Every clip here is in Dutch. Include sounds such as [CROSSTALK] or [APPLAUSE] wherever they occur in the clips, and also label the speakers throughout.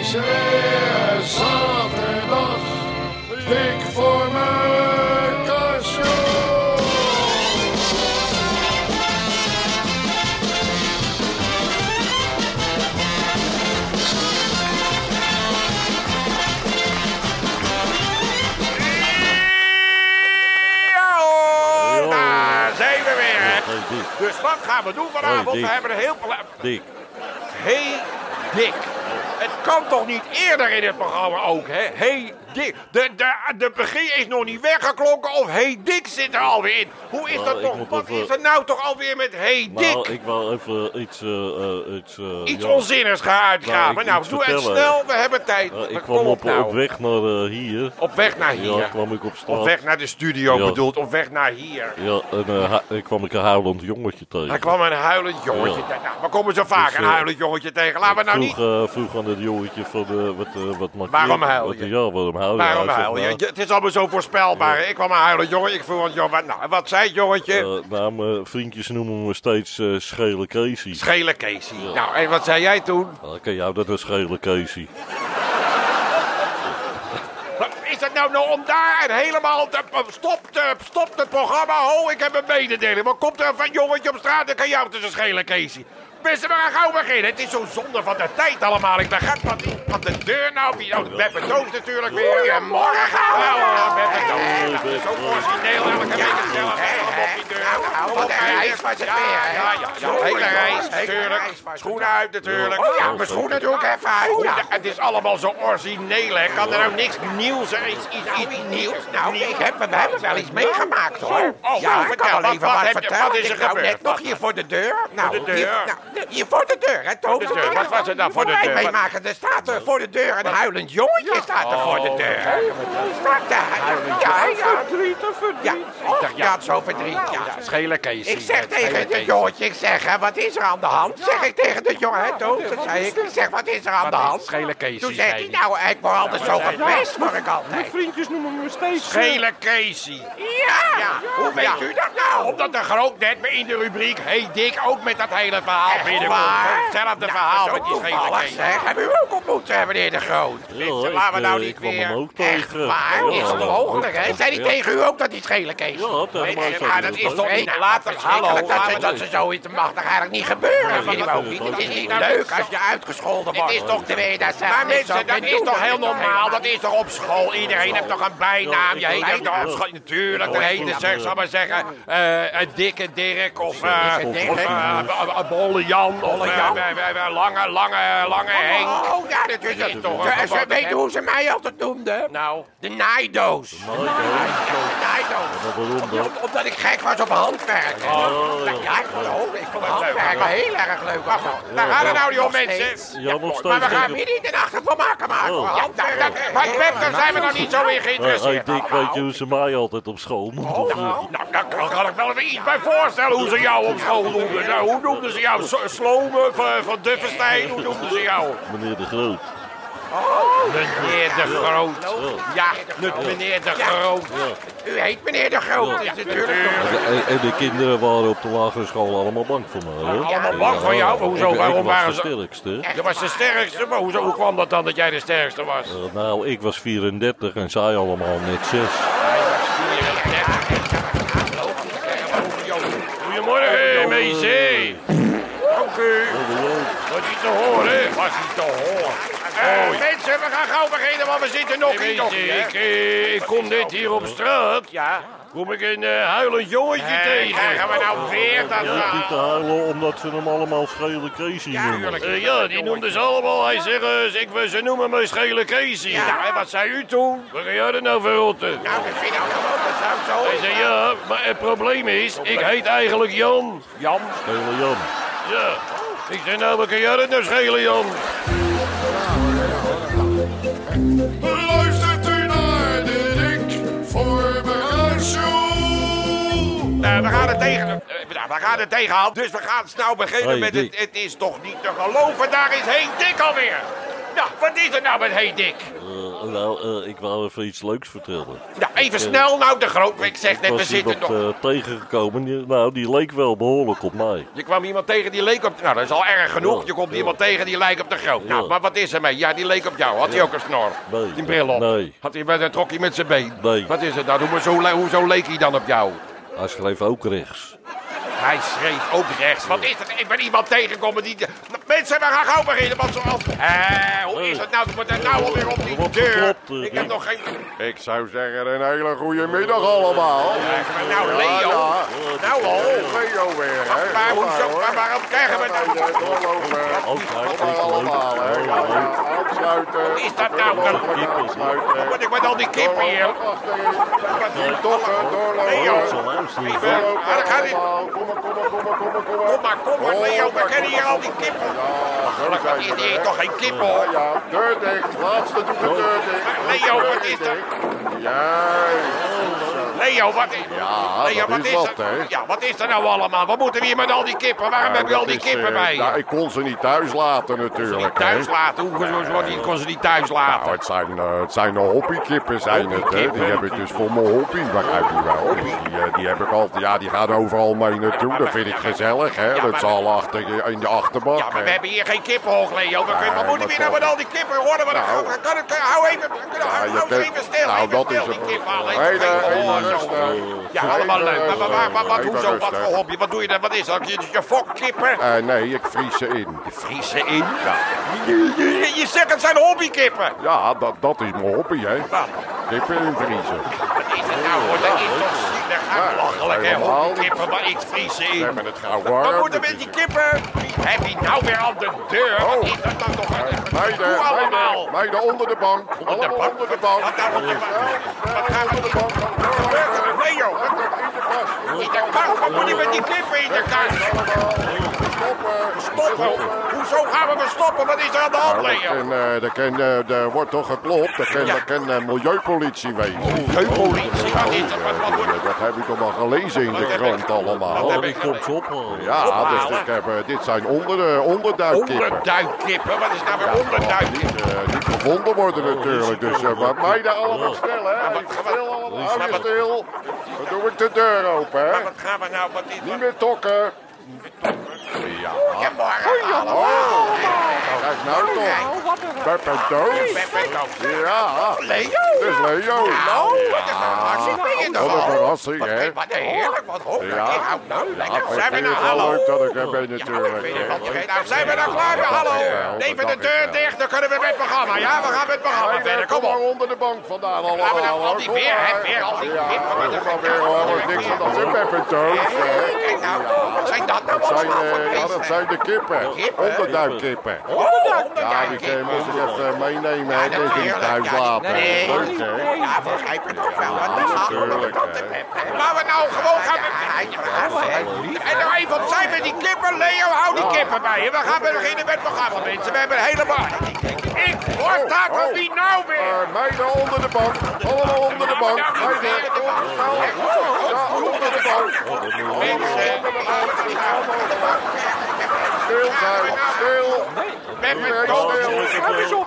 Speaker 1: is weer zaterdag. Dik voor mijn kastje.
Speaker 2: Ja hoor,
Speaker 3: Ja.
Speaker 2: daar zijn we weer. hè.
Speaker 3: Hey, Dick.
Speaker 2: Dus wat gaan we doen vanavond?
Speaker 3: Hoi, Dick.
Speaker 2: we hebben er heel pla-
Speaker 3: Dick.
Speaker 2: Hey Dick. Het kan toch niet eerder in het programma ook, hè? Hey Dick. De, de, de begin is nog niet weggeklonken of Hey Dick zit er alweer in. Hoe is
Speaker 3: Nou,
Speaker 2: dat
Speaker 3: ik
Speaker 2: toch?
Speaker 3: moet
Speaker 2: Wat
Speaker 3: even-
Speaker 2: is er nou toch alweer met Hey Dick?
Speaker 3: Nou, ik wou even iets... eh, eh, iets eh,
Speaker 2: Iets
Speaker 3: ja.
Speaker 2: onzinnigs gaan uitgraven.
Speaker 3: Nou,
Speaker 2: Nou,
Speaker 3: ik moet
Speaker 2: doe het
Speaker 3: vertellen.
Speaker 2: snel, we hebben tijd.
Speaker 3: Eh,
Speaker 2: Maar
Speaker 3: ik kwam
Speaker 2: kom
Speaker 3: op,
Speaker 2: nou.
Speaker 3: op weg naar eh, hier.
Speaker 2: Op weg naar hier.
Speaker 3: Ja, kwam ik op straat.
Speaker 2: Op weg naar de studio
Speaker 3: Ja.
Speaker 2: bedoeld, op weg naar hier.
Speaker 3: Ja, en eh, hu- eh, kwam ik een huilend jongetje tegen.
Speaker 2: Daar kwam een huilend jongetje
Speaker 3: Ja.
Speaker 2: tegen. Nou, we komen zo vaak
Speaker 3: Dus,
Speaker 2: een
Speaker 3: eh,
Speaker 2: huilend jongetje tegen. Laten we nou
Speaker 3: vroeg,
Speaker 2: niet...
Speaker 3: eh, vroeg aan dat jongetje van eh, wat, eh wat maak
Speaker 2: Waarom huil
Speaker 3: wat-
Speaker 2: je?
Speaker 3: Ja, waarom huil je?
Speaker 2: Waarom
Speaker 3: Hij zegt,
Speaker 2: huil je?
Speaker 3: nou,
Speaker 2: Je- Het is allemaal zo voorspelbaar. hè. Ik kwam een huilend jongetje. Ik vroeg, joh, wat, nou, wat zei het jongetje?
Speaker 3: eh, nou, mijn vriendjes noemen me steeds eh, Schele Casey.
Speaker 2: Schele Casey. Nou, en wat zei jij toen?
Speaker 3: Nou, ken jou dat een Schele Casey?
Speaker 2: Wat is dat nou, nou om daar en helemaal te... Stop, te, stop het programma. Ho, ik heb een mededeling. Wat komt er van jongetje op straat? Dan kan jou tussen schelen, Casey. Mensen, we gaan gauw beginnen. Het is zo'n zonde van de tijd allemaal. Ik begrijp wat niet. Wat de deur nou... wie- Oh, Beppe Doos natuurlijk weer. Goedemorgen. Nou, eh, Beppe Doos.
Speaker 3: Hoi, Beppe.
Speaker 2: Zo'n origineel elke week hetzelfde. Helemaal op die deur. Kom op,
Speaker 4: wat een
Speaker 2: hè.
Speaker 4: reis was het
Speaker 2: Ja,
Speaker 4: weer, hè.
Speaker 2: Ja, ja, ja. Hele reis, natuurlijk. Schoenen uit, natuurlijk.
Speaker 3: Oh, ja,
Speaker 2: Nou,
Speaker 3: mijn
Speaker 4: schoenen doe ik even uit.
Speaker 2: Schoenen-
Speaker 4: Ja.
Speaker 2: het is allemaal zo origineel, hè? Kan er nou niks nieuws zijn? Iets, iets,
Speaker 4: Nou,
Speaker 2: iets
Speaker 4: iets
Speaker 2: nieuws?
Speaker 4: nieuws. Nou, ik heb, we hebben wel iets meegemaakt, hoor.
Speaker 2: Oh, oh,
Speaker 4: ja,
Speaker 2: vertel,
Speaker 4: ik kan
Speaker 2: wat-
Speaker 4: wel even
Speaker 2: wat
Speaker 4: wat
Speaker 2: heb je-
Speaker 4: vertellen.
Speaker 2: wat is er
Speaker 4: Ik wou
Speaker 2: gebeurd?
Speaker 4: net nog hier voor de deur. Nou,
Speaker 2: Voor de
Speaker 4: Hier,
Speaker 2: deur?
Speaker 4: nou, hier voor de deur, hè, Toon?
Speaker 2: de deur. Wat was er nou voor de deur?
Speaker 4: meemaken. Er staat er voor de deur een huilend jongetje staat er voor de deur. Staat daar. Ja, ja. Ja, ik dacht, ja, het is zo verdriet, ja.
Speaker 2: Schelen Kees.
Speaker 4: Ik zeg tegen het jongetje, ik zeg, hè, wat is er aan de hand? Zeg ik tegen de jongen, hè, Toon? Dat zei ik. Ik zeg, wat is er aan de hand?
Speaker 2: Schelen Kees.
Speaker 4: Toen zegt hij, nou, ik word altijd zo gepest, word ik altijd.
Speaker 2: Schelen Casey.
Speaker 4: Ja, hoe weet u dat nou?
Speaker 2: Omdat de groot net in de rubriek Hey Dick ook met dat hele verhaal binnenkomt. Hetzelfde verhaal met die Schelen
Speaker 4: Toevallig,
Speaker 2: Kees.
Speaker 4: zeg. Hebben we u ook ontmoet, eh, meneer De Groot?
Speaker 2: Mensen,
Speaker 3: ik,
Speaker 2: laten we
Speaker 3: eh,
Speaker 2: nou niet
Speaker 3: ik kwam
Speaker 2: weer-
Speaker 3: hem ook
Speaker 4: Echt
Speaker 3: tegen.
Speaker 4: waar?
Speaker 3: Ja,
Speaker 4: is het
Speaker 3: dat-
Speaker 4: mogelijk, hè?
Speaker 3: dat-
Speaker 4: Zei die
Speaker 3: ja.
Speaker 4: tegen u ook dat die schelen
Speaker 3: Ja,
Speaker 4: kees?
Speaker 3: tegen mij
Speaker 4: Nee,
Speaker 3: zei
Speaker 4: maar
Speaker 3: hij
Speaker 4: dat
Speaker 3: dat
Speaker 4: is
Speaker 3: ook.
Speaker 4: toch
Speaker 3: Nee,
Speaker 4: niet...
Speaker 2: nou,
Speaker 4: Laat
Speaker 2: maar
Speaker 4: het hallo.
Speaker 2: verschrikkelijk
Speaker 4: Dat
Speaker 2: dat
Speaker 4: ze,
Speaker 2: ze-
Speaker 4: dat ze zoiets mag toch eigenlijk niet gebeuren,
Speaker 2: Nee,
Speaker 4: vind ik
Speaker 2: dat
Speaker 4: ook
Speaker 3: is
Speaker 4: niet.
Speaker 3: ook
Speaker 4: Het is
Speaker 3: niet.
Speaker 4: niet
Speaker 2: Dat is
Speaker 4: leuk
Speaker 2: toch-
Speaker 4: als je uitgescholden
Speaker 2: Het
Speaker 4: wordt.
Speaker 2: is toch
Speaker 4: twee, dat zijn
Speaker 2: Maar mensen, dat is toch heel normaal? Dat is toch op school? Iedereen heeft toch een bijnaam? Je heet toch op school? Natuurlijk, dan heet het, zeg, zal maar zeggen, eh een dikke Dirk of eh,
Speaker 3: Dikke
Speaker 2: of,
Speaker 3: Dirk.
Speaker 2: eh, een- een bolle Jan of eh,
Speaker 4: Jan.
Speaker 2: wij- wij- wij- lange, lange, lange Henk.
Speaker 4: Oh, ja, dat is
Speaker 2: Dat is
Speaker 4: het.
Speaker 2: toch
Speaker 4: Ze-
Speaker 2: een
Speaker 4: Ze
Speaker 2: gevat, hè?
Speaker 4: weten hoe ze mij altijd noemden.
Speaker 2: Nou,
Speaker 4: De naaidoos.
Speaker 3: Nou, ik ook.
Speaker 4: De naaidoos.
Speaker 3: Maar waarom dan?
Speaker 4: Om- Omdat ik gek was op handwerken.
Speaker 3: Oh, ja.
Speaker 4: ja, ik vond, oh, ik vond
Speaker 2: leuk,
Speaker 4: handwerken heel erg leuk. Maar goed,
Speaker 2: daar gaan we
Speaker 4: het
Speaker 2: nou niet om,
Speaker 4: steeds.
Speaker 2: mensen.
Speaker 3: Ja, nog steeds.
Speaker 4: Maar we gaan
Speaker 3: tegen-
Speaker 4: hier niet een achter van maken, maar
Speaker 3: Oh.
Speaker 4: ja, daar- daar-
Speaker 2: Maar Pep, daar zijn we nog niet zo in
Speaker 3: Hé, hey,
Speaker 2: geïnteresseerd.
Speaker 3: Dick, oh, weet je hoe ze mij altijd op school noemen?
Speaker 2: Nou, daar kan, kan ik wel even iets bij voorstellen hoe ze jou op school noemden. Nou, hoe noemden ze jou? Slo- Slomen van, van Duffenstein, hoe noemden ze jou?
Speaker 3: Meneer de Groot.
Speaker 2: Meneer de Groot. Ja, meneer de Groot.
Speaker 4: U heet meneer De Groot, dat is natuurlijk.
Speaker 3: En, en- en de kinderen waren op de lagere school allemaal bang voor mij. Hoor.
Speaker 2: Allemaal bang voor jou? Maar hoezo?
Speaker 3: Ik- ik
Speaker 2: Waarom
Speaker 3: was
Speaker 2: waren ze-
Speaker 3: de sterkste.
Speaker 2: Je was de sterkste, maar hoezo, hoe kwam dat dan dat jij de sterkste was?
Speaker 3: Eh, nou, ik was 34 en zij allemaal net 6.
Speaker 2: Goedemorgen, MEC. Dank u. Wat is te horen? Wat is te horen? Eh, mensen, we gaan gauw beginnen, want we zitten nog in Ik, eh, ik kom net hier op straat. Ja. Kom ik een eh, huilend jongetje tegen. Krijgen we nou weer dat
Speaker 3: Ja, die te huilen omdat ze hem allemaal schele Casey noemen.
Speaker 2: Eh, ja, die noemden ze allemaal. Hij zegt, eh, ik, ze noemen me Schele Casey. Nou, en wat zei u toen? Wat ga jij er nou voor rotten?
Speaker 4: Nou, dat vind ik ook wel, dat zou zo.
Speaker 2: Hij zei, ja, maar het probleem is, ik heet eigenlijk Jan. Jan?
Speaker 3: Schele Jan.
Speaker 2: Ja. Ik zei, nou, wat kan jij dat nou schelen, Jan?
Speaker 1: Luistert u naar de Dik voor mijn show.
Speaker 2: Eh, we gaan er tegen... eh, nou, we gaan er tegenaan, dus we gaan snel beginnen
Speaker 3: Hey,
Speaker 2: met het...
Speaker 3: Dick.
Speaker 2: Het is toch niet te geloven, daar is Heen Dik alweer. Nou, wat is er nou met Heen Dik?
Speaker 3: Eh, nou, eh, ik wou even iets leuks vertellen.
Speaker 2: Ja, even snel nou de groot. Ik zeg net,
Speaker 3: Ik
Speaker 2: we
Speaker 3: eh, was
Speaker 2: zitten
Speaker 3: iemand
Speaker 2: nog...
Speaker 3: eh, tegengekomen, die- nou, die leek wel behoorlijk op mij.
Speaker 2: Je kwam iemand tegen die leek op... Nou, dat is al erg genoeg.
Speaker 3: Ja,
Speaker 2: Je komt
Speaker 3: ja.
Speaker 2: iemand tegen die lijkt op de groot. Nou,
Speaker 3: Ja.
Speaker 2: maar wat is er mee? Ja, die leek op jou. Had hij ook een snor?
Speaker 3: Nee.
Speaker 2: Die bril op?
Speaker 3: Nee.
Speaker 2: Had hij met een trokje met zijn been?
Speaker 3: Nee.
Speaker 2: Wat is het nou? Doe maar zo, le- hoezo leek hij dan op jou?
Speaker 3: Hij schreef ook rechts.
Speaker 2: Hij schreef ook rechts. Wat is dat? Ik ben iemand tegengekomen die... Nou, Mensen, we gaan gauw beginnen, want zo al... Hé, hoe is het nou? Doe maar daar nou alweer op die
Speaker 3: Wat
Speaker 2: deur.
Speaker 3: klopt, eh,
Speaker 2: Ik heb
Speaker 3: Piet?
Speaker 2: nog geen...
Speaker 1: Ik zou zeggen, een hele goede middag allemaal. Ah,
Speaker 2: Nou, Leo.
Speaker 1: Ja,
Speaker 2: Nou, al.
Speaker 1: Leo weer, hè.
Speaker 2: Maar
Speaker 1: Kom
Speaker 2: hoezo?
Speaker 1: hoor.
Speaker 2: Maar waarom krijgen we
Speaker 1: Ja,
Speaker 2: nou...
Speaker 1: maar, eh, doorlopen.
Speaker 3: Ook hij
Speaker 1: Kom maar
Speaker 3: schreef leuk.
Speaker 1: allemaal, hè.
Speaker 3: Oh,
Speaker 1: Ja,
Speaker 3: leuk.
Speaker 1: ja, Aansluiten.
Speaker 2: Wat nou is dat nou?
Speaker 1: Doorlopen,
Speaker 3: Kiepers, hè?
Speaker 2: Wat
Speaker 1: aansluiten.
Speaker 2: word ik met al die kippen hier?
Speaker 1: Doorlopen, achterin.
Speaker 2: Wat-
Speaker 1: Toppen,
Speaker 2: Leo.
Speaker 1: doorlopen.
Speaker 3: Oh, Zo, luister eens.
Speaker 2: Ja, dat gaat niet.
Speaker 1: allemaal. Kom maar, kom maar, kom maar, kom maar, kom maar.
Speaker 2: Kom maar, kom maar, Leo.
Speaker 1: Oh,
Speaker 2: We kennen hier al die kippen.
Speaker 1: Ja, zo
Speaker 2: Gelukkig
Speaker 1: zijn
Speaker 2: is
Speaker 1: we
Speaker 2: die
Speaker 1: weer.
Speaker 2: toch geen kippen,
Speaker 1: Ja,
Speaker 2: hoor.
Speaker 1: ja, deur dicht. Laatste doet de deur
Speaker 2: Maar
Speaker 1: dicht.
Speaker 2: Leo,
Speaker 1: Deur
Speaker 2: wat is dat?
Speaker 1: dicht. Juist.
Speaker 2: Leo, wat is...
Speaker 1: Ja,
Speaker 2: Leo,
Speaker 1: dat is wat,
Speaker 2: er-
Speaker 1: hè?
Speaker 2: Ja, wat is er nou allemaal? Wat moeten we hier met al die kippen? Waarom heb je al die
Speaker 1: Dat is,
Speaker 2: kippen
Speaker 1: eh,
Speaker 2: bij
Speaker 1: nou,
Speaker 2: je?
Speaker 1: ik kon ze niet thuis laten
Speaker 2: Niet
Speaker 1: natuurlijk. hè.
Speaker 2: thuis laten. Hoe hoe- hoe- hoe- kon ze niet thuis
Speaker 1: Nou,
Speaker 2: laten?
Speaker 1: het zijn, eh, het zijn de hobbykippen zijn het, hè. Die
Speaker 2: Hobbykippen.
Speaker 1: heb ik dus voor mijn hobby, begrijp je wel. Dus die, eh, die heb ik altijd, ja, die gaan overal mee naartoe. Dat vind ik gezellig, hè.
Speaker 2: Ja,
Speaker 1: Dat
Speaker 2: maar-
Speaker 1: zal achter, in de achterbak,
Speaker 2: Ja, maar we
Speaker 1: hè.
Speaker 2: hebben hier geen kippenhoog, Leo. We kunnen,
Speaker 1: Nee,
Speaker 2: wat moeten we
Speaker 1: maar
Speaker 2: hier nou met
Speaker 1: toch.
Speaker 2: al die kippen? Horen we
Speaker 1: Nou.
Speaker 2: dat? Kan, kan, hou even, hou,
Speaker 1: je
Speaker 2: hou
Speaker 1: bent-
Speaker 2: eens even stil.
Speaker 1: nou,
Speaker 2: even
Speaker 1: dat
Speaker 2: stil,
Speaker 1: is
Speaker 2: die
Speaker 1: een-
Speaker 2: kippen halen.
Speaker 1: Hele,
Speaker 2: Even geen
Speaker 1: hele
Speaker 2: gehoor, zo.
Speaker 1: rustig.
Speaker 2: Ja, allemaal
Speaker 1: Hele
Speaker 2: leuk. Maar, maar, maar, maar wat,
Speaker 1: rustig.
Speaker 2: hoezo,
Speaker 1: Even
Speaker 2: wat voor
Speaker 1: rustig.
Speaker 2: hobby? Wat doe je dan? Wat is dat? Je, je fokkippen?
Speaker 1: Eh, nee, ik vries ze in.
Speaker 2: Vries ze in? Je, je zegt het zijn hobbykippen. Nou,
Speaker 1: Ja, dat, dat is mijn hobby, hè.
Speaker 2: Wat?
Speaker 1: Kippen in vriezen.
Speaker 2: Wat is het nou hoor? Dat is toch zielig
Speaker 1: Ja,
Speaker 2: en belachelijk hè?
Speaker 1: helemaal
Speaker 2: Hobbykippen, maar ik vries ze
Speaker 1: We
Speaker 2: in.
Speaker 1: hebben het gauw warm.
Speaker 2: Wat moeten we
Speaker 1: Het
Speaker 2: met die
Speaker 1: is-
Speaker 2: kippen? Heb je nou weer aan de deur?
Speaker 1: Oh.
Speaker 2: Wat is dat dan toch? Hoe
Speaker 1: Meiden,
Speaker 2: allemaal?
Speaker 1: meiden, meiden onder de bank. Allemaal
Speaker 2: de bank?
Speaker 1: onder de bank.
Speaker 2: Wat nou onder de bank? Wat gaan we
Speaker 1: onder de bank.
Speaker 2: Leo, wat in de kast? Wat moet je met die kippen in de kast?
Speaker 1: Stoppen.
Speaker 2: Stoppen! Hoezo gaan we maar stoppen? Wat is er aan de hand,
Speaker 1: Dat
Speaker 2: Leo?
Speaker 1: kan, eh, dat kan, eh, er wordt toch geklopt. Dat kan,
Speaker 2: Ja. Oh,
Speaker 1: dat kan eh, milieupolitie wezen. Oh,
Speaker 2: Milieupolitie, wat is dat? Wat, wat moet
Speaker 1: Eh, Dat heb ik toch al gelezen in de
Speaker 2: heb ik-
Speaker 1: krant allemaal.
Speaker 2: Wat
Speaker 3: Oh,
Speaker 2: heb
Speaker 3: die
Speaker 2: ik-
Speaker 3: komt ze ophalen.
Speaker 1: Ja, dus
Speaker 2: Ophalen.
Speaker 1: ik heb, eh, dit zijn onder, eh, onderduikkippen.
Speaker 2: Onderduikkippen, wat is nou weer
Speaker 1: Die
Speaker 2: onderduikkippen?
Speaker 1: eh, niet gevonden worden natuurlijk. Dus eh, wat mij daar allemaal stil, hè? Even Stil allemaal, hou je stil. Dan doe ik de deur open, hè?
Speaker 2: Wat gaan we nou, wat is
Speaker 1: Niet meer tokken. Ja.
Speaker 2: Goedemorgen allemaal!
Speaker 1: Oh, kijk nou
Speaker 2: Oh,
Speaker 4: Oh,
Speaker 1: toch. Pep en Toos.
Speaker 2: Ben- ben- nou,
Speaker 1: Ja,
Speaker 2: Leo!
Speaker 1: dat is Leo.
Speaker 2: Nou, wat een verrassing ben je
Speaker 1: Wat een
Speaker 2: toch al?
Speaker 1: verrassing,
Speaker 2: Nou, Wat,
Speaker 1: hè?
Speaker 2: wat heerlijk, wat hoog.
Speaker 1: Ja.
Speaker 2: Ik hou nou
Speaker 1: Ja, ik
Speaker 2: lekker. Zijn
Speaker 1: vind
Speaker 2: we
Speaker 1: het
Speaker 2: nou,
Speaker 1: wel
Speaker 2: hallo?
Speaker 1: leuk dat ik er ben
Speaker 2: Ja, ik weet het
Speaker 1: natuurlijk.
Speaker 2: wel. Je weet nou, zijn we nou klaar? weer? Hallo!
Speaker 1: wel,
Speaker 2: Even
Speaker 1: dat dacht
Speaker 2: de
Speaker 1: ik
Speaker 2: deur
Speaker 1: wel.
Speaker 2: dicht, dan kunnen we met het programma. Ja, we gaan met het programma
Speaker 1: Meiden,
Speaker 2: verder. Kom
Speaker 1: maar
Speaker 2: op.
Speaker 1: onder de bank vandaan allemaal.
Speaker 2: Laten we dan al die
Speaker 1: hoor. Kom
Speaker 2: weer, hè,
Speaker 1: maar.
Speaker 2: weer al die
Speaker 1: Ja,
Speaker 2: kippen met de-
Speaker 1: kom maar weer, hoor. Er is Niks aan de Pep en Toos, hè?
Speaker 2: Kijk nou, wat zijn dat nou
Speaker 1: Dat zijn,
Speaker 2: allemaal voor
Speaker 1: eh, ja, dat
Speaker 2: beesten?
Speaker 1: zijn de kippen.
Speaker 2: Kippen?
Speaker 1: Onderduikkippen.
Speaker 2: Oh,
Speaker 1: Ja, die kun je
Speaker 2: onderduikkippen.
Speaker 1: moest ik even meenemen.
Speaker 2: Ja,
Speaker 1: hè, dat je niet
Speaker 2: natuurlijk.
Speaker 1: thuis
Speaker 2: Ja, die-
Speaker 1: laten.
Speaker 2: nee.
Speaker 1: Leuk, hè?
Speaker 2: Ja, begrijp ik ook wel. Wat is dat?
Speaker 1: natuurlijk, hè.
Speaker 2: Laten we nou gewoon gaan met... En nou even opzij met die kippen. Leo, hou die kippen bij je. We gaan beginnen met het programma, mensen. We hebben een helemaal... Ik word daar van wie nou weer?
Speaker 1: Oh, Eh, meiden onder de bank. Allemaal onder de bank. Meiden, kom, snel. Ja, onder de bank.
Speaker 2: Mensen,
Speaker 1: Stil zijn. Stil.
Speaker 2: met mijn
Speaker 1: Iedereen
Speaker 2: dood.
Speaker 3: eh,
Speaker 1: stil.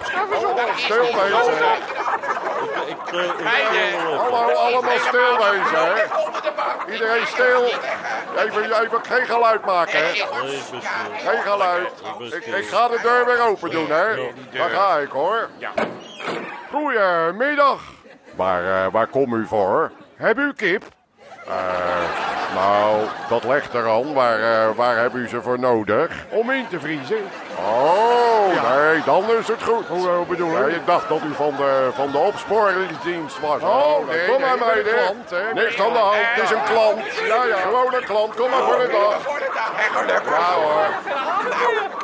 Speaker 1: Stil
Speaker 2: Stil
Speaker 1: wezen.
Speaker 3: Ik, eh, ik
Speaker 2: Meiden.
Speaker 3: wil wel even.
Speaker 1: Hallo, allemaal stil wezen, hè?
Speaker 2: Onder de bank.
Speaker 1: Iedereen stil. Even, even geen geluid maken, hè?
Speaker 3: Nee, ik ben stil.
Speaker 1: Geen geluid. Ik, ik ga de deur weer open doen, hè? Daar ga ik, hoor.
Speaker 2: Ja.
Speaker 1: Goedemiddag. Waar, eh, waar kom u voor? Heb u kip? Eh, nou, dat legt eraan. Waar, eh, waar heb u ze voor nodig? Om in te vriezen. Oh, nee, dan is het goed. Hoe bedoel je? ik dacht dat u van de, van de opsporingsdienst was. Oh, nee, kom maar bij de klant. Niks aan de hand, het is een klant. Ja, ja. Gewoon een klant, kom maar voor de dag.
Speaker 2: Voor de dag. En gelukkig.
Speaker 1: Ja hoor.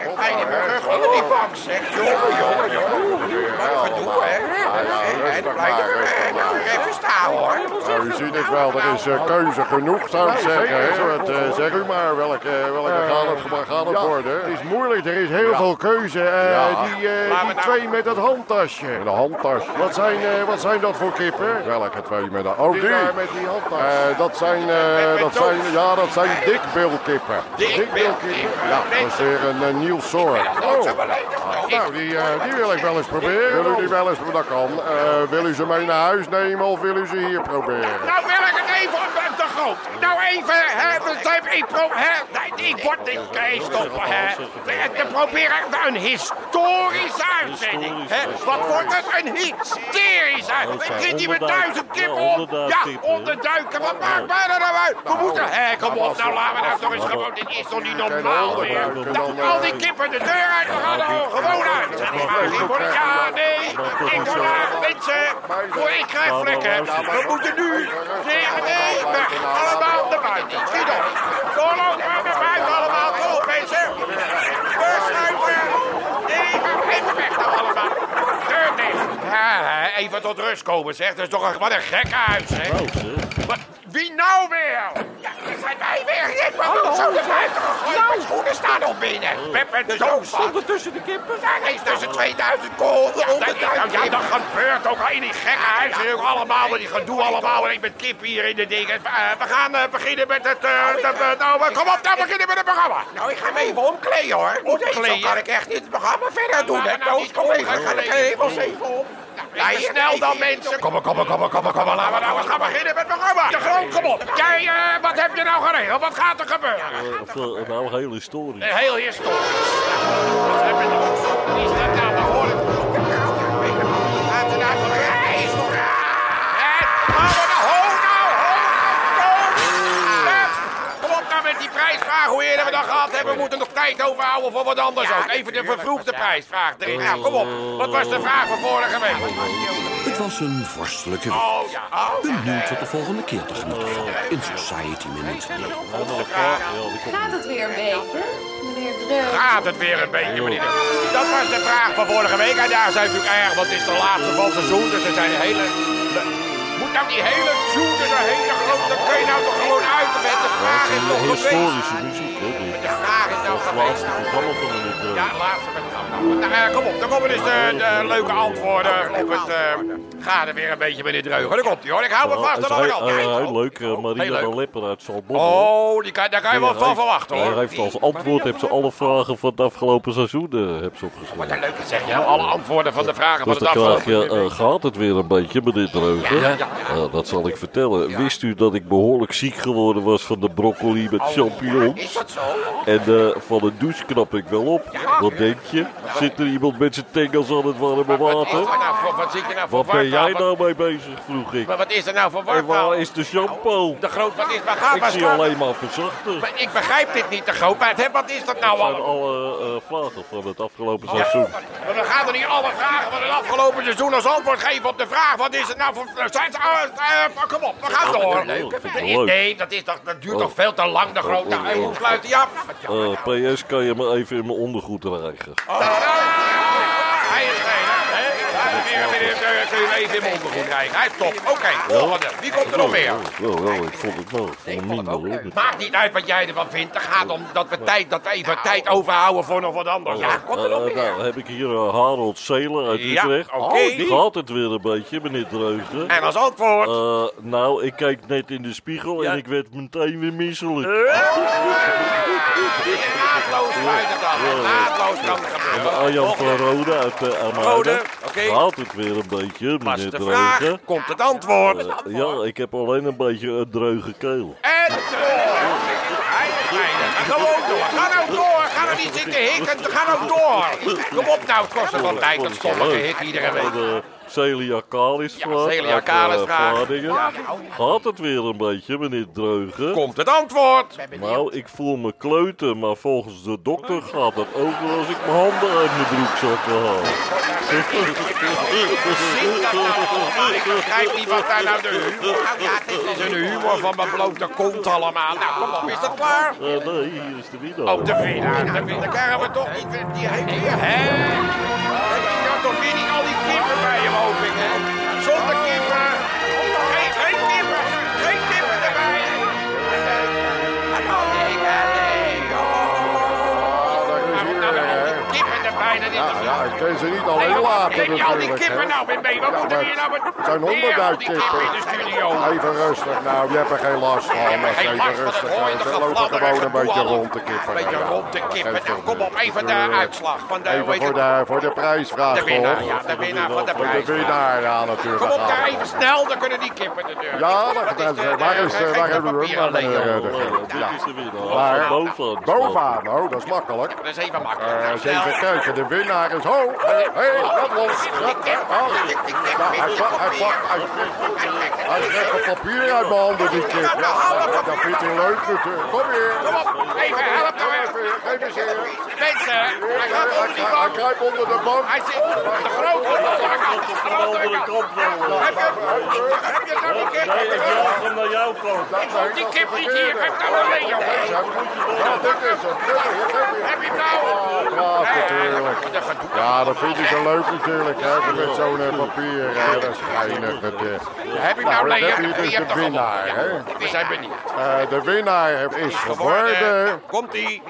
Speaker 4: Nou,
Speaker 2: Fijn in mijn rug onder die bank, zeg. Jongen, jongen, jongen. Wat een gedoe, hè?
Speaker 1: Ja, ja, rustig
Speaker 2: Blijf
Speaker 1: maar, rustig maar.
Speaker 2: even staan, hoor.
Speaker 1: Nou, u ziet het wel, er is eh, keuze genoeg, zou ik zeggen. hè. Het, eh, zeg u maar, welke, eh, welke gaat het, waar gaat het worden? Het is moeilijk, er is heel veel keuze. eh, Die,
Speaker 2: Laten we nou- twee
Speaker 1: met dat handtasje. Met een handtasje. Wat zijn, eh, wat zijn dat voor kippen? Welke twee met een... Oh, die? met die handtas. dat zijn, eh,
Speaker 2: met
Speaker 1: dat
Speaker 2: doos.
Speaker 1: zijn, ja, dat zijn dikbeelkippen.
Speaker 2: Dikbeelkippen.
Speaker 1: Ja, dat is weer een eh, nieuw soort.
Speaker 2: Oh,
Speaker 4: onze beleden.
Speaker 1: Nou, die, eh, die wil ik wel eens proberen. Wil u die wel eens, dat kan. Eh, wil u ze mee naar huis nemen of wil u ze hier proberen?
Speaker 2: Nou wil ik het even op de grond. Nou even, hè, want ik, ik, pro, hè, nee, ik word niet kees stoppen, hè. Te proberen een historische uitzending. Hè. Wat wordt het? Een hysterische uitzending. Ik zit hier met duizend tippen op. Ja, onderduiken. Wat maakt mij er nou uit? We moeten, hè, kom op, nou laten we nou toch eens gewoon. Dit is toch niet normaal meer. Nou, al die kippen de deur uit, we gaan er gewoon uit. Ja, nee, ik word daar, mensen, voor ik krijg vlekken. We moeten nu, nee, nee, weg. Allemaal naar buiten. Schiet op. Doorloop maar naar buiten allemaal. Kom op, mensen. Deurschuiven. Nee, maar even weg nou allemaal. Deur dicht. Ja, hè, even tot rust komen, zeg. Dat is toch een, wat een gekke huis, hè. Wat, wie nou weer?
Speaker 4: Ja, daar zijn wij weer. Rick, wat doen ze de buiten gegooid? Mijn schoenen staan al binnen.
Speaker 2: Pep en
Speaker 4: Zo,
Speaker 2: Toos.
Speaker 4: stonden tussen de kippen. Daar is tussen 2000
Speaker 2: Ja,
Speaker 4: kolen,
Speaker 2: dat, nou, ja, dat gebeurt ook al in die gekke huizen. joh. Allemaal met die gedoe, allemaal en ik met kip hier in de ding. Eh, we gaan eh, beginnen met het... eh, dat, eh, nou, eh, kom op, nou beginnen met het programma.
Speaker 4: Nou, ik ga hem even omkleden hoor. Moet even,
Speaker 2: Omkleden?
Speaker 4: Zo kan ik echt niet het programma verder doen.
Speaker 2: maar
Speaker 4: hè.
Speaker 2: nou
Speaker 4: Toos,
Speaker 2: niet
Speaker 4: kom even, ga ik
Speaker 2: omkleden.
Speaker 4: helemaal eens even om.
Speaker 2: Ja,
Speaker 4: hier,
Speaker 2: snel dan,
Speaker 4: even hier.
Speaker 2: mensen. Kom op, kom op, kom op, kom op, kom op. Laten we nou eens gaan beginnen met het programma. De groot, kom op. Jij, eh, wat heb je nou geregeld? Wat gaat er gebeuren?
Speaker 3: Of, eh, nou, heel historisch.
Speaker 2: Een heel historisch. Nou, Wat heb je nog? Wie is dat nou? Dat hoor ik.
Speaker 4: Laten we nou gewoon reis doen.
Speaker 2: Hé, nou, nou, ho, nou, ho, nou, Toon. Hup, Kom op nou met die prijsvraag, hoe eerder we dat gehad hebben. We moeten nog tijd overhouden voor wat anders ook. Even de vervroegde prijsvraag. erin. Nou, kom op. Wat was de vraag van vorige week?
Speaker 5: Het was een vorstelijke week.
Speaker 2: Oh ja, oh.
Speaker 5: Benieuwd wat de volgende keer tegemoet valt in Society Minute.
Speaker 3: Ja, nou, ja, die komt
Speaker 6: Gaat het weer een beetje, meneer Dreun?
Speaker 2: Gaat het weer een beetje, meneer. Dat was de vraag van vorige week. En daar zijn we natuurlijk erg, want het is de laatste van het seizoen. Dus er zijn hele... Moet nou die hele tune, dus een hele grote... Dat kun je nou toch gewoon uit de wet. De vraag is toch
Speaker 3: een
Speaker 2: geweest.
Speaker 3: historische muziek, hè? dit.
Speaker 2: De vraag is nou
Speaker 3: Dat is het
Speaker 2: geweest.
Speaker 3: laatste programma van eh, de Nick
Speaker 2: Ja,
Speaker 3: Dreugen.
Speaker 2: laatste met het nou, eh, Kom op, dan komen dus de, de leuke antwoorden op het... eh gaat er weer een beetje, meneer Dreugen. Daar komt hij hoor. Ik hou me
Speaker 3: Ja,
Speaker 2: vast
Speaker 3: het is
Speaker 2: aan alle
Speaker 3: heel, eh,
Speaker 2: kanten.
Speaker 3: heel leuk, eh,
Speaker 2: Oh, Heel
Speaker 3: Maria
Speaker 2: leuk.
Speaker 3: van Lepper uit Zaltbommel.
Speaker 2: Oh, die kan, daar kan je wel van verwachten
Speaker 3: Hij
Speaker 2: hoor.
Speaker 3: heeft als antwoord heeft ze alle vragen van het afgelopen seizoen eh, heeft ze opgeschreven.
Speaker 2: Leuk, zeg je nou. Alle antwoorden van de vragen van
Speaker 3: Dus
Speaker 2: het
Speaker 3: dan krijg
Speaker 2: afgelopen.
Speaker 3: je, eh, gaat het weer een beetje, meneer Dreugen? Eh, dat zal ik vertellen. Wist u dat ik behoorlijk ziek geworden was van de broccoli
Speaker 2: Oh,
Speaker 3: met champignons?
Speaker 4: Is dat zo?
Speaker 3: En eh, van de douche knap ik wel op. Wat denk je? Zit er iemand met zijn tengels aan het warme
Speaker 2: Wat, is er
Speaker 3: water?
Speaker 2: nou voor, wat zit je nou voor
Speaker 3: Wat ben jij
Speaker 2: wartaal?
Speaker 3: nou mee bezig, vroeg ik.
Speaker 2: Wat, wat is er nou voor
Speaker 3: En
Speaker 2: wartaal?
Speaker 3: waar is de shampoo?
Speaker 2: De groot, wat is... Maar ga
Speaker 3: Ik
Speaker 2: maar
Speaker 3: zie
Speaker 2: staan.
Speaker 3: alleen maar verzachten.
Speaker 2: Maar Ik begrijp dit niet, de groot. Maar het- wat is dat nou
Speaker 3: zijn
Speaker 2: allemaal?
Speaker 3: alle eh, vragen van het afgelopen
Speaker 2: Ja,
Speaker 3: seizoen.
Speaker 2: maar we gaan er niet alle vragen van het afgelopen seizoen als antwoord geven op de vraag. Wat is het nou voor... Zijn ze- eh, eh, kom op, we gaan door.
Speaker 3: leuk. Vind ik
Speaker 2: Nee,
Speaker 3: leuk.
Speaker 2: Nee, dat, is, toch- dat duurt
Speaker 3: Oh.
Speaker 2: toch veel te lang, de grote.
Speaker 3: oh,
Speaker 2: Hij
Speaker 3: oh.
Speaker 2: moet sluiten je af.
Speaker 3: Eh, PS, kan je me even in mijn ondergoed rijgen?
Speaker 2: Oh, Hij is geen, hè? Dames en heren, meneer, eh, Kun je hem even in mijn ondergoed krijgen. Hij is top. Oké, volgende. Wie komt er nog meer?
Speaker 3: Wel, wel, Oh, ik vond het wel. Ik vond het minder hoor.
Speaker 2: Maakt niet uit wat jij ervan vindt. Het gaat om dat we tijd, dat we even tijd overhouden voor nog wat anders. Ja,
Speaker 3: Eh, nou, heb ik hier eh, Harold Zeler uit
Speaker 2: Ja,
Speaker 3: Utrecht.
Speaker 2: oké.
Speaker 3: Oh, die gaat het weer een beetje, meneer Dreugen.
Speaker 2: en als antwoord...
Speaker 3: Eh, nou, ik keek net in de spiegel en ik werd meteen weer misselijk.
Speaker 2: Eh. Naadloos sluit het af. Naadloos kan het
Speaker 3: En
Speaker 2: gebeuren.
Speaker 3: Arjan van Rode uit eh, Armada.
Speaker 2: Oh. Rode, oké.
Speaker 3: Gaat het weer een beetje,
Speaker 2: Pas
Speaker 3: meneer
Speaker 2: de vraag,
Speaker 3: Dreugen.
Speaker 2: komt het antwoord.
Speaker 3: Eh, ja, ik heb alleen een beetje een dreuge keel.
Speaker 2: En door. Hij is bijna. Ga Gewoon door. Ga nou door. Ga nou niet zitten hikken. Ga nou door. Kom op nou. Het kost er wel tijd. Dat stomme hik iedere week.
Speaker 3: De Celia Kalis vraag.
Speaker 2: Celia
Speaker 3: uit, eh,
Speaker 2: Kalis vraag.
Speaker 3: Vlaardingen. Gaat het weer een beetje, meneer Dreugen?
Speaker 2: Komt het antwoord.
Speaker 3: Nou, ik voel me kleuter, maar volgens de dokter gaat dat over als ik mijn handen uit mijn broekzakken haal.
Speaker 2: Ik begrijp niet wat daar nou de humor aan gaat. Dit is een humor van mijn blote kont allemaal. Nou, kom op. Is dat klaar?
Speaker 3: Eh, nee, hier is de winnaar.
Speaker 2: Op de villa. De villa. Dan krijgen we toch niet weer die hele... Hè? Heb je nou toch weer niet al die kippen bij je, hoop ik, hè? Zonder kippen. Geen, geen kippen. Geen kippen erbij. Hallo, nee, nee.
Speaker 1: Ah, daar is
Speaker 2: Maar
Speaker 1: hij
Speaker 2: moet nou
Speaker 1: weer,
Speaker 2: weer
Speaker 1: hè.
Speaker 2: al die kippen erbij Nee, dat is toch
Speaker 1: Ja,
Speaker 2: zo?
Speaker 1: ik kan ze niet
Speaker 2: Hey,
Speaker 1: alleen
Speaker 2: joh,
Speaker 1: laten
Speaker 2: Neem je al die
Speaker 1: natuurlijk.
Speaker 2: kippen
Speaker 1: hè.
Speaker 2: nou weer mee? Wat moeten
Speaker 1: maar
Speaker 2: we hier nou met...
Speaker 1: het zijn
Speaker 2: weer al die
Speaker 1: honderdduizend
Speaker 2: kippen in de
Speaker 1: kippen.
Speaker 2: studio.
Speaker 1: Even rustig nou, je hebt er geen last van.
Speaker 2: Ja, maar
Speaker 1: Als
Speaker 2: geen
Speaker 1: even
Speaker 2: last van het
Speaker 1: rustig
Speaker 2: hooi,
Speaker 1: uit.
Speaker 2: dat
Speaker 1: Dan lopen
Speaker 2: gefladder en
Speaker 1: gewoon een
Speaker 2: gedoe
Speaker 1: beetje
Speaker 2: allemaal.
Speaker 1: rond te
Speaker 2: Ja,
Speaker 1: kippen.
Speaker 2: Een beetje rond te kippen. Nou, kom op, even de uitslag van de...
Speaker 1: Even
Speaker 2: weet
Speaker 1: voor
Speaker 2: ik-
Speaker 1: de, voor de prijsvraag,
Speaker 2: De winnaar,
Speaker 1: hoor.
Speaker 2: ja, de winnaar van de
Speaker 1: Voor de
Speaker 2: prijs.
Speaker 1: winnaar aan natuurlijk. Nou,
Speaker 2: Kom op daar even snel, dan kunnen die kippen de deur.
Speaker 1: Ja, dat
Speaker 2: Wat
Speaker 1: gedaan
Speaker 2: de-
Speaker 1: zijn. Waar is, eh,
Speaker 2: geef
Speaker 1: waar
Speaker 2: de
Speaker 1: hebben we
Speaker 2: papieren
Speaker 1: hem?
Speaker 2: alleen,
Speaker 1: Eh,
Speaker 2: joh.
Speaker 1: de-
Speaker 3: dit is de winnaar.
Speaker 1: Maar- eh,
Speaker 3: Van bovenaan.
Speaker 1: Bovenaan, oh, dat is makkelijk.
Speaker 2: Dat is even
Speaker 1: Eh,
Speaker 2: makkelijk. Nou,
Speaker 1: eens
Speaker 2: snel.
Speaker 1: even kijken, de winnaar is hoog. Hé, hey, hey, dat los. Dat, oh, Ja, hij pakt, hij pakt, hij hij trekt het papier uit mijn handen, die kip.
Speaker 2: Nou,
Speaker 1: Ja, dat vindt hij leuk natuurlijk. Kom
Speaker 2: Kom
Speaker 1: hier.
Speaker 2: op, even, help nou even.
Speaker 1: Geef eens hier.
Speaker 2: Mensen, hij gaat
Speaker 1: Hij
Speaker 2: onder die
Speaker 1: kru- Hij
Speaker 2: bank.
Speaker 1: kruipt onder de bank.
Speaker 2: Hij zit op de grote onderkant. Op de andere kant wel. Heb je- heb je nou die kip?
Speaker 3: Nee, ik jaag hem naar jouw kant.
Speaker 1: Dat zijn
Speaker 2: Die
Speaker 1: dat
Speaker 2: kip
Speaker 1: de
Speaker 2: niet hier,
Speaker 1: verkeerde.
Speaker 2: geef nou alleen, joh.
Speaker 1: Ja, dit is het. Dit is het. Geef hier.
Speaker 2: Heb je hem nou?
Speaker 1: Ah, braaf natuurlijk. Ja, dat vindt hij zo leuk natuurlijk. Hè, zo met zo'n eh, papier. Hè, dat is geinig. Dat, eh.
Speaker 2: Heb je hem
Speaker 1: Nou,
Speaker 2: nou
Speaker 1: dan heb
Speaker 2: leeg?
Speaker 1: je dus
Speaker 2: Je hebt
Speaker 1: de
Speaker 2: toch
Speaker 1: winnaar. Hè.
Speaker 2: gewonnen. Ja, We zijn benieuwd.
Speaker 1: Eh, de winnaar is geworden...
Speaker 2: Geworden. Komt-ie.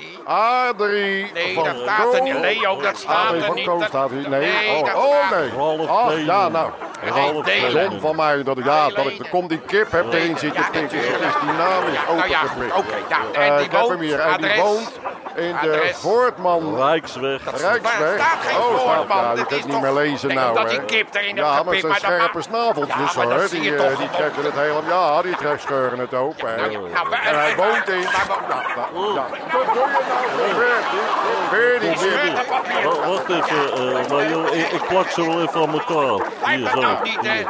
Speaker 1: Adrie
Speaker 2: Nee,
Speaker 1: van
Speaker 2: dat staat er niet.
Speaker 1: Kool.
Speaker 2: Leo, dat staat
Speaker 1: Adrie
Speaker 2: er
Speaker 1: van
Speaker 2: niet.
Speaker 1: Kool
Speaker 2: Dat-
Speaker 1: staat hier. Nee.
Speaker 2: Nee,
Speaker 1: oh,
Speaker 2: dat
Speaker 1: oh,
Speaker 2: staat-
Speaker 1: nee.
Speaker 3: Ralf
Speaker 1: Ach,
Speaker 3: Delen.
Speaker 1: ja, nou.
Speaker 2: Ralf Delen.
Speaker 1: Dom van mij dat ik, ja, dat ik
Speaker 2: Delen.
Speaker 1: kom die kip heb erin zitten
Speaker 2: Ja,
Speaker 1: pikken.
Speaker 2: natuurlijk.
Speaker 1: Het is dynamisch
Speaker 2: Ja, nou ja, goed,
Speaker 1: opengeprikt.
Speaker 2: oké. nou,
Speaker 1: Eh,
Speaker 2: En die
Speaker 1: ik heb hem
Speaker 2: woont,
Speaker 1: hier. En die
Speaker 2: adres.
Speaker 1: woont in de
Speaker 2: Adres.
Speaker 1: Voortman
Speaker 3: Rijksweg.
Speaker 1: Rijksweg.
Speaker 2: Maar er staat geen
Speaker 1: oh,
Speaker 2: Voortman,
Speaker 1: staat- ja,
Speaker 2: dit
Speaker 1: je
Speaker 2: is
Speaker 1: kunt niet meer
Speaker 2: toch-
Speaker 1: lezen
Speaker 2: Denk
Speaker 1: nou.
Speaker 2: dat die
Speaker 1: hè.
Speaker 2: kip erin heeft
Speaker 1: Ja, maar
Speaker 2: gepikt,
Speaker 1: het zijn
Speaker 2: maar dat
Speaker 1: scherpe
Speaker 2: maakt-
Speaker 1: snaveltjes
Speaker 2: Ja, maar dat
Speaker 1: hoor.
Speaker 2: zie
Speaker 1: Die,
Speaker 2: je
Speaker 1: eh,
Speaker 2: toch
Speaker 1: die
Speaker 2: gewoon.
Speaker 1: trekken het helemaal... Ja, die trekken scheuren het ook. hè.
Speaker 2: nou ja, nou, maar-
Speaker 1: en hij woont in...
Speaker 2: Waar woont-
Speaker 1: Ja, nou, ja. Wat doe je nou? Weer- Weer Oh, die
Speaker 2: Scheur
Speaker 1: weer die-
Speaker 2: dat papier.
Speaker 3: Wa- Wacht even, eh, maar joh, ik, ik plak ze wel even aan elkaar.
Speaker 2: Hij
Speaker 3: Hier
Speaker 2: bent
Speaker 3: zo.
Speaker 2: nou niet, hè?
Speaker 3: Hier.
Speaker 2: Ja,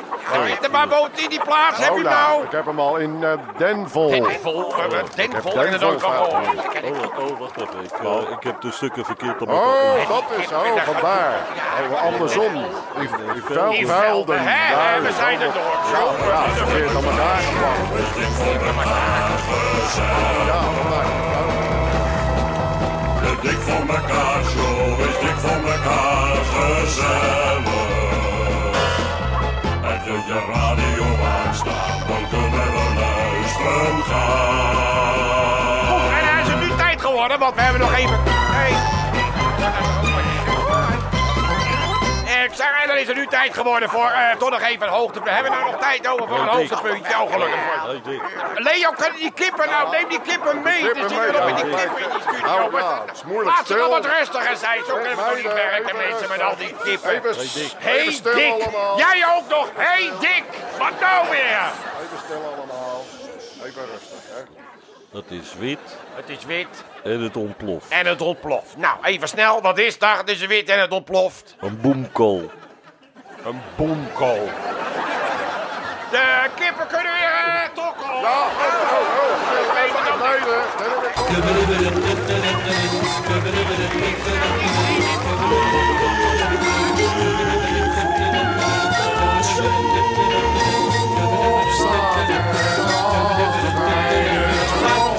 Speaker 2: Waar woont hij die plaats? Heb
Speaker 1: Oh,
Speaker 2: je
Speaker 1: nou,
Speaker 2: nou?
Speaker 1: ik heb hem al in eh, Denvol.
Speaker 2: Vol, we hebben Denvol
Speaker 1: heb
Speaker 2: en het ook
Speaker 1: Denvol
Speaker 2: al
Speaker 1: gehad.
Speaker 3: Oh, oh, wacht even. Ik, eh, ik heb de stukken verkeerd aan elkaar.
Speaker 1: Oh, dat is zo, vandaar. Oh, andersom. Die, die vuil-
Speaker 2: Die
Speaker 1: vuilden.
Speaker 2: velden, hè? hè,
Speaker 1: Ja,
Speaker 2: We zijn er door. Zo.
Speaker 1: Ja, verkeerd aan elkaar geplakt. Ja, vandaar.
Speaker 7: Dik voor mekaar, zo is dik voor mekaar gezellig. Heb je je radio aanstaan, dan kunnen we luisteren gaan.
Speaker 2: En hij is er nu tijd geworden, want we hebben nog even. Nee. Ik zeg, en dan is er nu tijd geworden voor eh, toch nog even een hoogtepunt. Hebben we nou nog tijd over voor een hoogtepuntje? Oh, gelukkig. voor.
Speaker 3: Hey, Dick.
Speaker 2: Leo, kunnen die kippen nou? Neem die kippen mee.
Speaker 1: Kippen
Speaker 2: Er zitten we
Speaker 1: mee,
Speaker 2: nog met die
Speaker 1: ja.
Speaker 2: kippen in die studio.
Speaker 1: Nou,
Speaker 2: Maar-
Speaker 1: ja, het is moeilijk
Speaker 2: Laat ze wel
Speaker 1: stil.
Speaker 2: wat rustiger zijn. Zo kunnen we toch niet
Speaker 1: Meiden,
Speaker 2: werken,
Speaker 1: even
Speaker 2: mensen, met
Speaker 1: rustig.
Speaker 2: al die kippen.
Speaker 1: Even, s-
Speaker 2: Hey
Speaker 1: even stil
Speaker 2: Dick,
Speaker 1: allemaal.
Speaker 2: jij ook nog. Hey Dick, wat nou weer?
Speaker 1: Even stil allemaal. Even rustig, hè.
Speaker 3: Het is wit
Speaker 2: Het is wit
Speaker 3: en het ontploft.
Speaker 2: en het ontploft. Nou, even snel, wat is dat? Het is wit en het ontploft.
Speaker 3: Een boemkool.
Speaker 2: Een boemkool. De kippen kunnen weer eh, tokkelen.
Speaker 1: Ja, oh, oh, oh.
Speaker 2: Even dan-
Speaker 1: Meiden, nee, nee, nee, kom.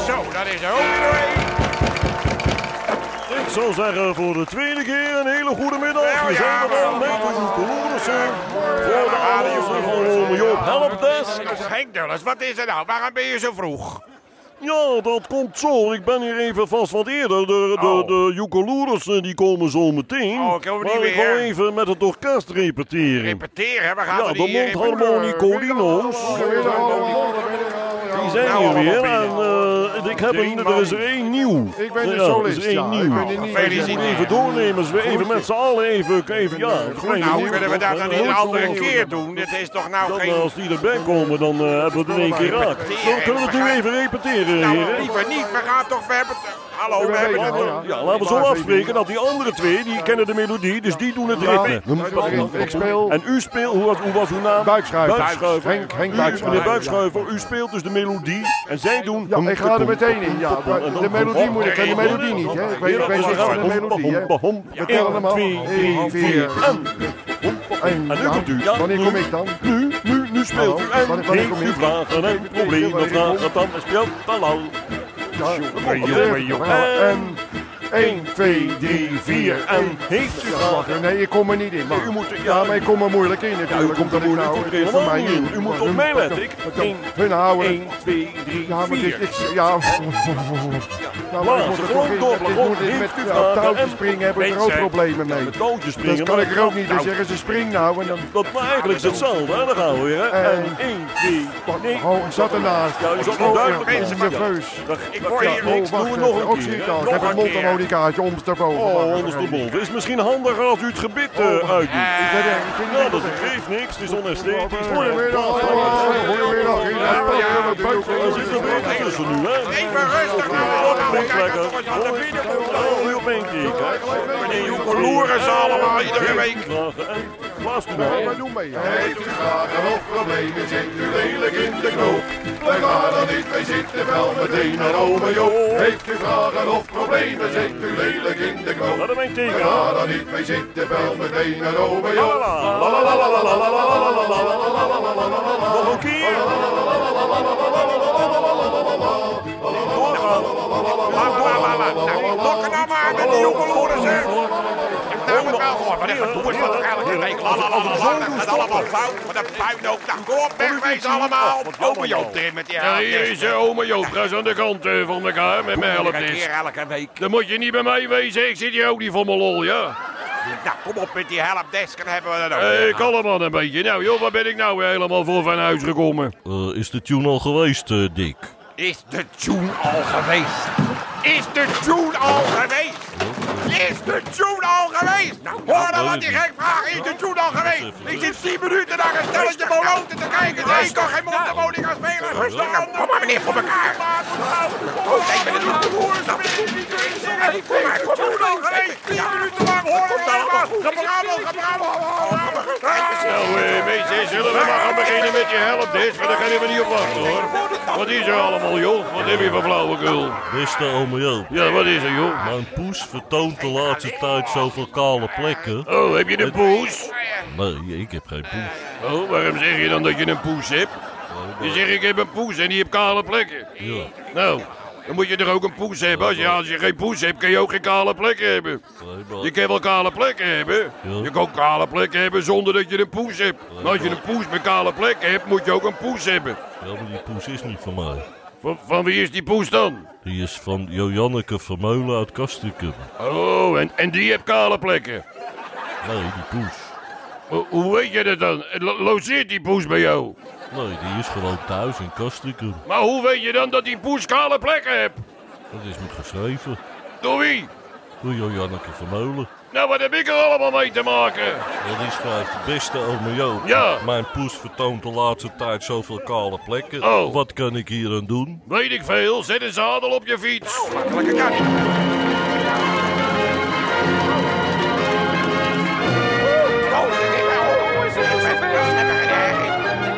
Speaker 2: Zo, dat is er ook weer.
Speaker 3: Ik zou zeggen voor de tweede keer een hele goede middag. We zijn er dan met de Loerensen. Voor de radio van Ome Oh, Joop Helpdesk.
Speaker 2: Henk Dulles, wat is er nou? Waarom ben je zo vroeg?
Speaker 3: Ja, dat komt zo. Ik ben hier even vast wat eerder. De, de,
Speaker 2: Oh.
Speaker 3: de Joekoloerensen die komen zo meteen.
Speaker 2: Oh, komen die
Speaker 3: maar ik wil
Speaker 2: weer?
Speaker 3: even met het orkest repeteren.
Speaker 2: Repeteren, we gaan
Speaker 3: Ja,
Speaker 2: er
Speaker 3: de
Speaker 2: niet hier
Speaker 3: mondharmonicodino's. Die zijn
Speaker 2: Nou,
Speaker 3: hier weer.
Speaker 2: allemaal
Speaker 3: En eh, ik heb een, er is er één nieuw.
Speaker 1: Ik ben
Speaker 3: Ja,
Speaker 1: de
Speaker 3: er is
Speaker 1: solist,
Speaker 3: één
Speaker 1: ja. Ik
Speaker 3: nieuw.
Speaker 1: ben de nieuwe.
Speaker 3: Dus we moeten even doornemen. dus we even met z'n allen even... even ja,
Speaker 2: in.
Speaker 3: kleine
Speaker 2: Nou,
Speaker 3: nieuw.
Speaker 2: kunnen we dat dan niet een
Speaker 3: Heel
Speaker 2: andere
Speaker 3: veel-
Speaker 2: keer doen? Dit is toch nou
Speaker 3: Dan, eh,
Speaker 2: geen...
Speaker 3: als die erbij komen, dan eh, hebben we het in één keer raak.
Speaker 2: Repeteren,
Speaker 3: Dan kunnen we het nu even repeteren,
Speaker 2: Nou,
Speaker 3: heren.
Speaker 2: liever niet. We gaan toch... We hebben... Hallo, we
Speaker 1: Ja,
Speaker 2: hebben...
Speaker 1: ja.
Speaker 3: Ja, laten we zo afspreken dat die andere twee, die kennen de melodie, dus die doen het ritme.
Speaker 1: Ja, dat is het. Ik speel
Speaker 3: En u speelt, hoe was, hoe was uw naam?
Speaker 1: Buikschuiver.
Speaker 3: Buikschuiver.
Speaker 1: Henk- Henk
Speaker 3: U,
Speaker 1: Buikschuiver.
Speaker 3: Meneer Buikschuiver, u speelt dus de melodie en zij doen...
Speaker 1: Ja, ik ga er meteen in. Ja,
Speaker 3: En
Speaker 1: de,
Speaker 3: dan-
Speaker 1: de melodie moet ik en de melodie niet. Hè. Ik weet, ik weet
Speaker 3: Ja,
Speaker 1: niks van de
Speaker 3: hompa,
Speaker 1: melodie. Hè.
Speaker 3: hompa, hompa.
Speaker 1: We tellen hem af.
Speaker 3: Eén,
Speaker 1: Eén,
Speaker 3: twee, drie,
Speaker 1: vier.
Speaker 3: vier. En
Speaker 1: En
Speaker 3: en nu
Speaker 1: ja,
Speaker 3: komt u. Ja,
Speaker 1: wanneer
Speaker 3: nu,
Speaker 1: kom ik dan?
Speaker 3: Nu, nu, nu speelt u.
Speaker 1: Hallo,
Speaker 3: En
Speaker 1: wanneer- wanneer
Speaker 3: heeft
Speaker 1: kom
Speaker 3: u
Speaker 1: ik?
Speaker 3: vragen en problemen,
Speaker 1: wanneer
Speaker 3: vragen
Speaker 1: kom-
Speaker 3: dan en speelt te lang.
Speaker 1: Ja, jongen, jongen. En 1, 2, 3, 4 en...
Speaker 3: heeft u gehad.
Speaker 1: Nee, ik kom er niet in, man.
Speaker 3: u moet- ja,
Speaker 1: ja, maar ik kom er moeilijk in natuurlijk.
Speaker 3: u komt
Speaker 1: omdat
Speaker 3: er
Speaker 1: ik
Speaker 3: moeilijk
Speaker 1: nou-
Speaker 3: goed
Speaker 1: het is
Speaker 3: helemaal
Speaker 1: voor mij
Speaker 3: niet in.
Speaker 1: niet-
Speaker 3: U moet
Speaker 1: Ja,
Speaker 3: op
Speaker 1: nu-
Speaker 3: mij letten.
Speaker 1: ja,
Speaker 3: Ik-
Speaker 1: ja,
Speaker 3: één,
Speaker 1: Hun houden.
Speaker 3: 1, 2, 3,
Speaker 1: Ja, maar dit
Speaker 3: 4.
Speaker 1: is... Ja, ja maar ik moet er toch in.
Speaker 3: gewoon door,
Speaker 1: Ik
Speaker 3: gewoon
Speaker 1: moet dit met
Speaker 3: heeft u
Speaker 1: ja,
Speaker 3: vragen
Speaker 1: touwtjes
Speaker 3: en-
Speaker 1: springen heb ik er ook
Speaker 3: Mensen,
Speaker 1: problemen
Speaker 3: ja,
Speaker 1: mee.
Speaker 3: met touwtjes springen,
Speaker 1: Dat kan
Speaker 3: maar
Speaker 1: ik er ook
Speaker 3: met
Speaker 1: niet. Dan
Speaker 3: touw-
Speaker 1: zeggen ze spring nou en dan...
Speaker 3: Dat maar eigenlijk is hetzelfde, hè? Daar gaan we weer, hè?
Speaker 1: Eh,
Speaker 3: En 1, 2,
Speaker 1: Pak,
Speaker 3: nee.
Speaker 1: oh, ik zat ernaast.
Speaker 3: Ja, u zat
Speaker 1: Ik loop
Speaker 3: duidelijk
Speaker 1: weer
Speaker 3: mensen, maar ja.
Speaker 1: nerveus.
Speaker 3: Dat, ik
Speaker 2: hoor
Speaker 3: ja,
Speaker 2: hier
Speaker 3: oh,
Speaker 2: niks.
Speaker 3: wacht,
Speaker 1: Doen we
Speaker 3: eh,
Speaker 1: nog een
Speaker 3: ook
Speaker 1: keer.
Speaker 3: hier,
Speaker 1: Ik
Speaker 3: hè?
Speaker 1: heb
Speaker 3: Nog
Speaker 1: een
Speaker 3: een keer.
Speaker 1: mondharmonicaatje ondersteboven.
Speaker 3: Oh,
Speaker 1: Wacht,
Speaker 3: ondersteboven. Is misschien handiger als u het gebit eh,
Speaker 1: Oh,
Speaker 3: uitdoet.
Speaker 1: ik weet het, ik vind het
Speaker 3: Nou,
Speaker 1: niet
Speaker 3: dat
Speaker 1: goed, hè.
Speaker 3: geeft niks. Het is onesthetisch.
Speaker 1: Goedemiddag allemaal. Goedemiddag. Goedemiddag.
Speaker 3: Er zit er beter tussen nu, hè?
Speaker 2: Even rustig nou
Speaker 3: Dat
Speaker 2: allemaal.
Speaker 3: klinkt
Speaker 2: Kijk,
Speaker 3: lekker.
Speaker 2: dat wordt aan de binnen moet.
Speaker 3: Oh, nu op één keer, kijk.
Speaker 2: Meneer Joeken loeren ze allemaal iedere week.
Speaker 3: Blaas u nou.
Speaker 1: Maar doe mee.
Speaker 7: Heeft u vragen of problemen, zit u lelijk in de knoop. We gaan er niet mee zitten, wel meteen naar ome Joop. Heeft u vragen of problemen, zit u lelijk in de knoop.
Speaker 3: Laat hem een
Speaker 7: We
Speaker 3: teken.
Speaker 7: gaan er niet mee zitten, wel meteen naar ome
Speaker 3: La,
Speaker 7: Joop.
Speaker 3: la, la, la, la, la, la, la, la, la, la, la, la, la, la. Nog een keer. Doorgaan.
Speaker 2: La, la, la, la. Nou, Lokken nou maar met die jonge loeren, zeg. Ik heb het wel gehoord, maar even doen is dat toch elke week. La, la, la, la, la. Dat gaat allemaal fout, maar dat puin ook. Nou, kom op, wegwezen allemaal. Oma Joop erin met die helft.
Speaker 8: Hier is eh, oma Joop, ga eens aan de kant eh, van elkaar met mijn
Speaker 2: Elke
Speaker 8: helpnis.
Speaker 2: keer, elke week.
Speaker 8: Dan moet je niet bij mij wezen, ik zit hier ook niet voor mijn lol, ja?
Speaker 2: Nou, kom op met die helpdesk, dan hebben we dat ook.
Speaker 8: Hé,
Speaker 2: weer.
Speaker 8: kalm aan een beetje. Nou joh, waar ben ik nou weer helemaal voor van huis gekomen?
Speaker 3: Eh, is de tune al geweest, eh, Dick?
Speaker 2: Is de tune al geweest? Is de tune al geweest? Is de tune al geweest? Nou, hoor dan wat die gek vraagt. Is de tune al geweest? Ik zit 10 minuten naar een stelletje moloten te kijken. Nee, ik kan geen mondharmonie gaan spelen. Rustig aan. Kom maar meneer, voor elkaar. Oh, ik ben het niet te horen. Dat ben ik niet kunnen zeggen. Kom maar, nou, kom maar. al geweest. 10 minuten lang horen we allemaal. Gebrabbel, gebrabbel.
Speaker 8: Nou, eh, mensen, zullen we maar gaan beginnen met je helpdesk? Maar daar gaan we niet op wachten, hoor. Wat is er allemaal, joh? Wat heb je voor flauwekul?
Speaker 3: Beste ome Joop,
Speaker 8: Ja, wat is er, joh?
Speaker 3: mijn poes vertoont de laatste tijd zoveel kale plekken.
Speaker 8: Oh, heb je een poes?
Speaker 3: Nee, ik heb geen poes.
Speaker 8: Oh, waarom zeg je dan dat je een poes hebt? Je zegt, ik heb een poes en die heeft kale plekken.
Speaker 3: Ja,
Speaker 8: Nou, dan moet je er ook een poes hebben. Als je, als je geen poes hebt, kun je ook geen kale plekken hebben.
Speaker 3: nee,
Speaker 8: Je
Speaker 3: maar...
Speaker 8: kan wel kale plekken hebben. Je kan ook kale plekken hebben zonder dat je een poes hebt. Maar als je een poes met kale plekken hebt, moet je ook een poes hebben.
Speaker 3: Ja, maar die poes is niet van mij.
Speaker 8: Van, van wie is die poes dan?
Speaker 3: Die is van Joanneke Vermeulen uit Kastrikum.
Speaker 8: Oh, en, en die heeft kale plekken.
Speaker 3: Nee, die poes.
Speaker 8: Ho- Hoe weet je dat dan? Lo- Logeert die poes bij jou?
Speaker 3: Nee, die is gewoon thuis in Kastrikum.
Speaker 8: Maar hoe weet je dan dat die poes kale plekken heeft?
Speaker 3: Dat is me geschreven
Speaker 8: Door wie?
Speaker 3: door Joanneke Vermeulen.
Speaker 8: Nou, wat heb ik er allemaal mee te maken?
Speaker 3: Ja, die schrijft, beste ome Joop.
Speaker 8: Ja.
Speaker 3: Mijn poes vertoont de laatste tijd zoveel kale plekken.
Speaker 8: Oh.
Speaker 3: Wat kan ik hier aan doen?
Speaker 8: Weet ik veel, zet een zadel op je fiets.
Speaker 2: Makkelijker kan niet.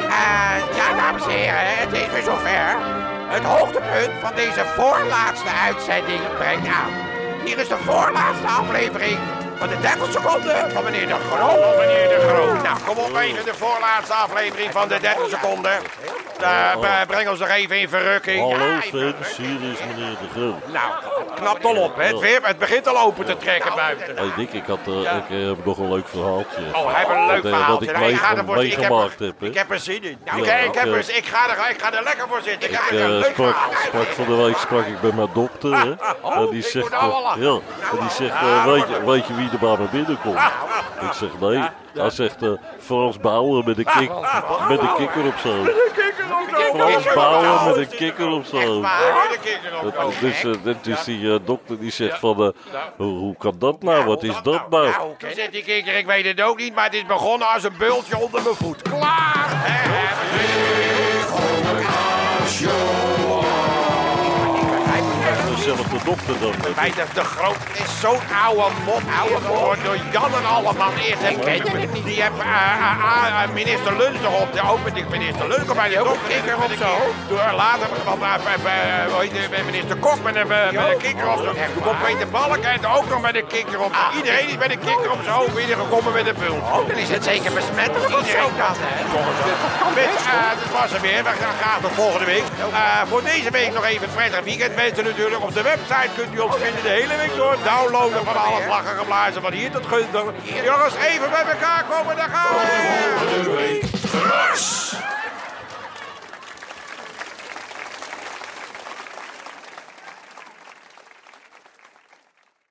Speaker 4: Eh, ja, dames en heren, het is weer zover. Het hoogtepunt van deze voorlaatste uitzending brengt aan. Hier is de voorlaatste aflevering van de 30 seconden van meneer De Groot.
Speaker 2: Meneer De Groot. Nou, kom op even de voorlaatste aflevering van de 30 seconden. Eh, b- breng ons nog even in verrukking.
Speaker 3: Hallo
Speaker 2: Ja, in
Speaker 3: fans, hier is meneer De Groot.
Speaker 2: Nou, het knapt al op, hè. Het, weer, het begint al open te trekken buiten.
Speaker 3: Hey Dick, ik, had, eh, ik eh, heb nog een leuk verhaaltje.
Speaker 2: Oh, hij heeft een leuk
Speaker 3: dat, eh,
Speaker 2: verhaal.
Speaker 3: Dat ik mee, meegemaakt heb. hè.
Speaker 2: Ik heb er zin in.
Speaker 3: Ja,
Speaker 2: ik, ik, heb
Speaker 3: ik,
Speaker 2: er, ik, ga er, ik ga er lekker voor zitten. Ik,
Speaker 3: Ik
Speaker 2: heb
Speaker 3: eh,
Speaker 2: een leuk
Speaker 3: sprak,
Speaker 2: verhaal.
Speaker 3: sprak van de week sprak ik bij mijn dokter.
Speaker 2: [LAUGHS]
Speaker 3: Hè, en die
Speaker 2: ik
Speaker 3: zegt,
Speaker 2: moet nou
Speaker 3: eh,
Speaker 2: al
Speaker 3: ja, en die zegt eh, weet, je, weet je wie er bij me binnenkomt? Ik zeg nee. Hij zegt eh, Frans Bauer met een, kik, met een kikker op zo. Frans Bauer met een kikker op zo.
Speaker 2: Maar nu de kikker op.
Speaker 3: Dat- Dus,
Speaker 2: Oh,
Speaker 3: eh, dat is die eh, dokter die zegt van, eh, hoe, hoe kan dat nou? Wat is dat nou?
Speaker 2: Nou, toen zit die kikker, ik weet het ook niet, maar het is begonnen als een bultje onder mijn voet. Klaar! Hè, hè, we zijn-
Speaker 3: Dezelfde dokter dan. eh,
Speaker 2: Bij de, de Groot is zo'n oude mop geworden door Jan en allemaal. Eerst heb niet. Die heb eh, eh, eh, minister Luns erop. De opening minister Luns op bij die ook kikker op zo. Door later want, eh, bij- bij, eh, hoe heet het, bij minister Kok met een, eh, met een kikker op zo. Toen komt Peter Balk en ook nog met een kikker op. Iedereen is met een kikker op zijn hoofd binnengekomen met een bult. Oh, dan is het zeker besmettelijk Iedereen dat, hè? Met, eh, dat was hem weer. We gaan graag tot volgende week. Eh, voor deze week nog even een prettig weekend wensen natuurlijk. Op Op de website kunt u ons vinden de hele week door. Downloaden van alle vlaggen geblazen van hier tot Gunther. Jongens, even bij elkaar komen, daar gaan we!
Speaker 7: Volgende week. Gras!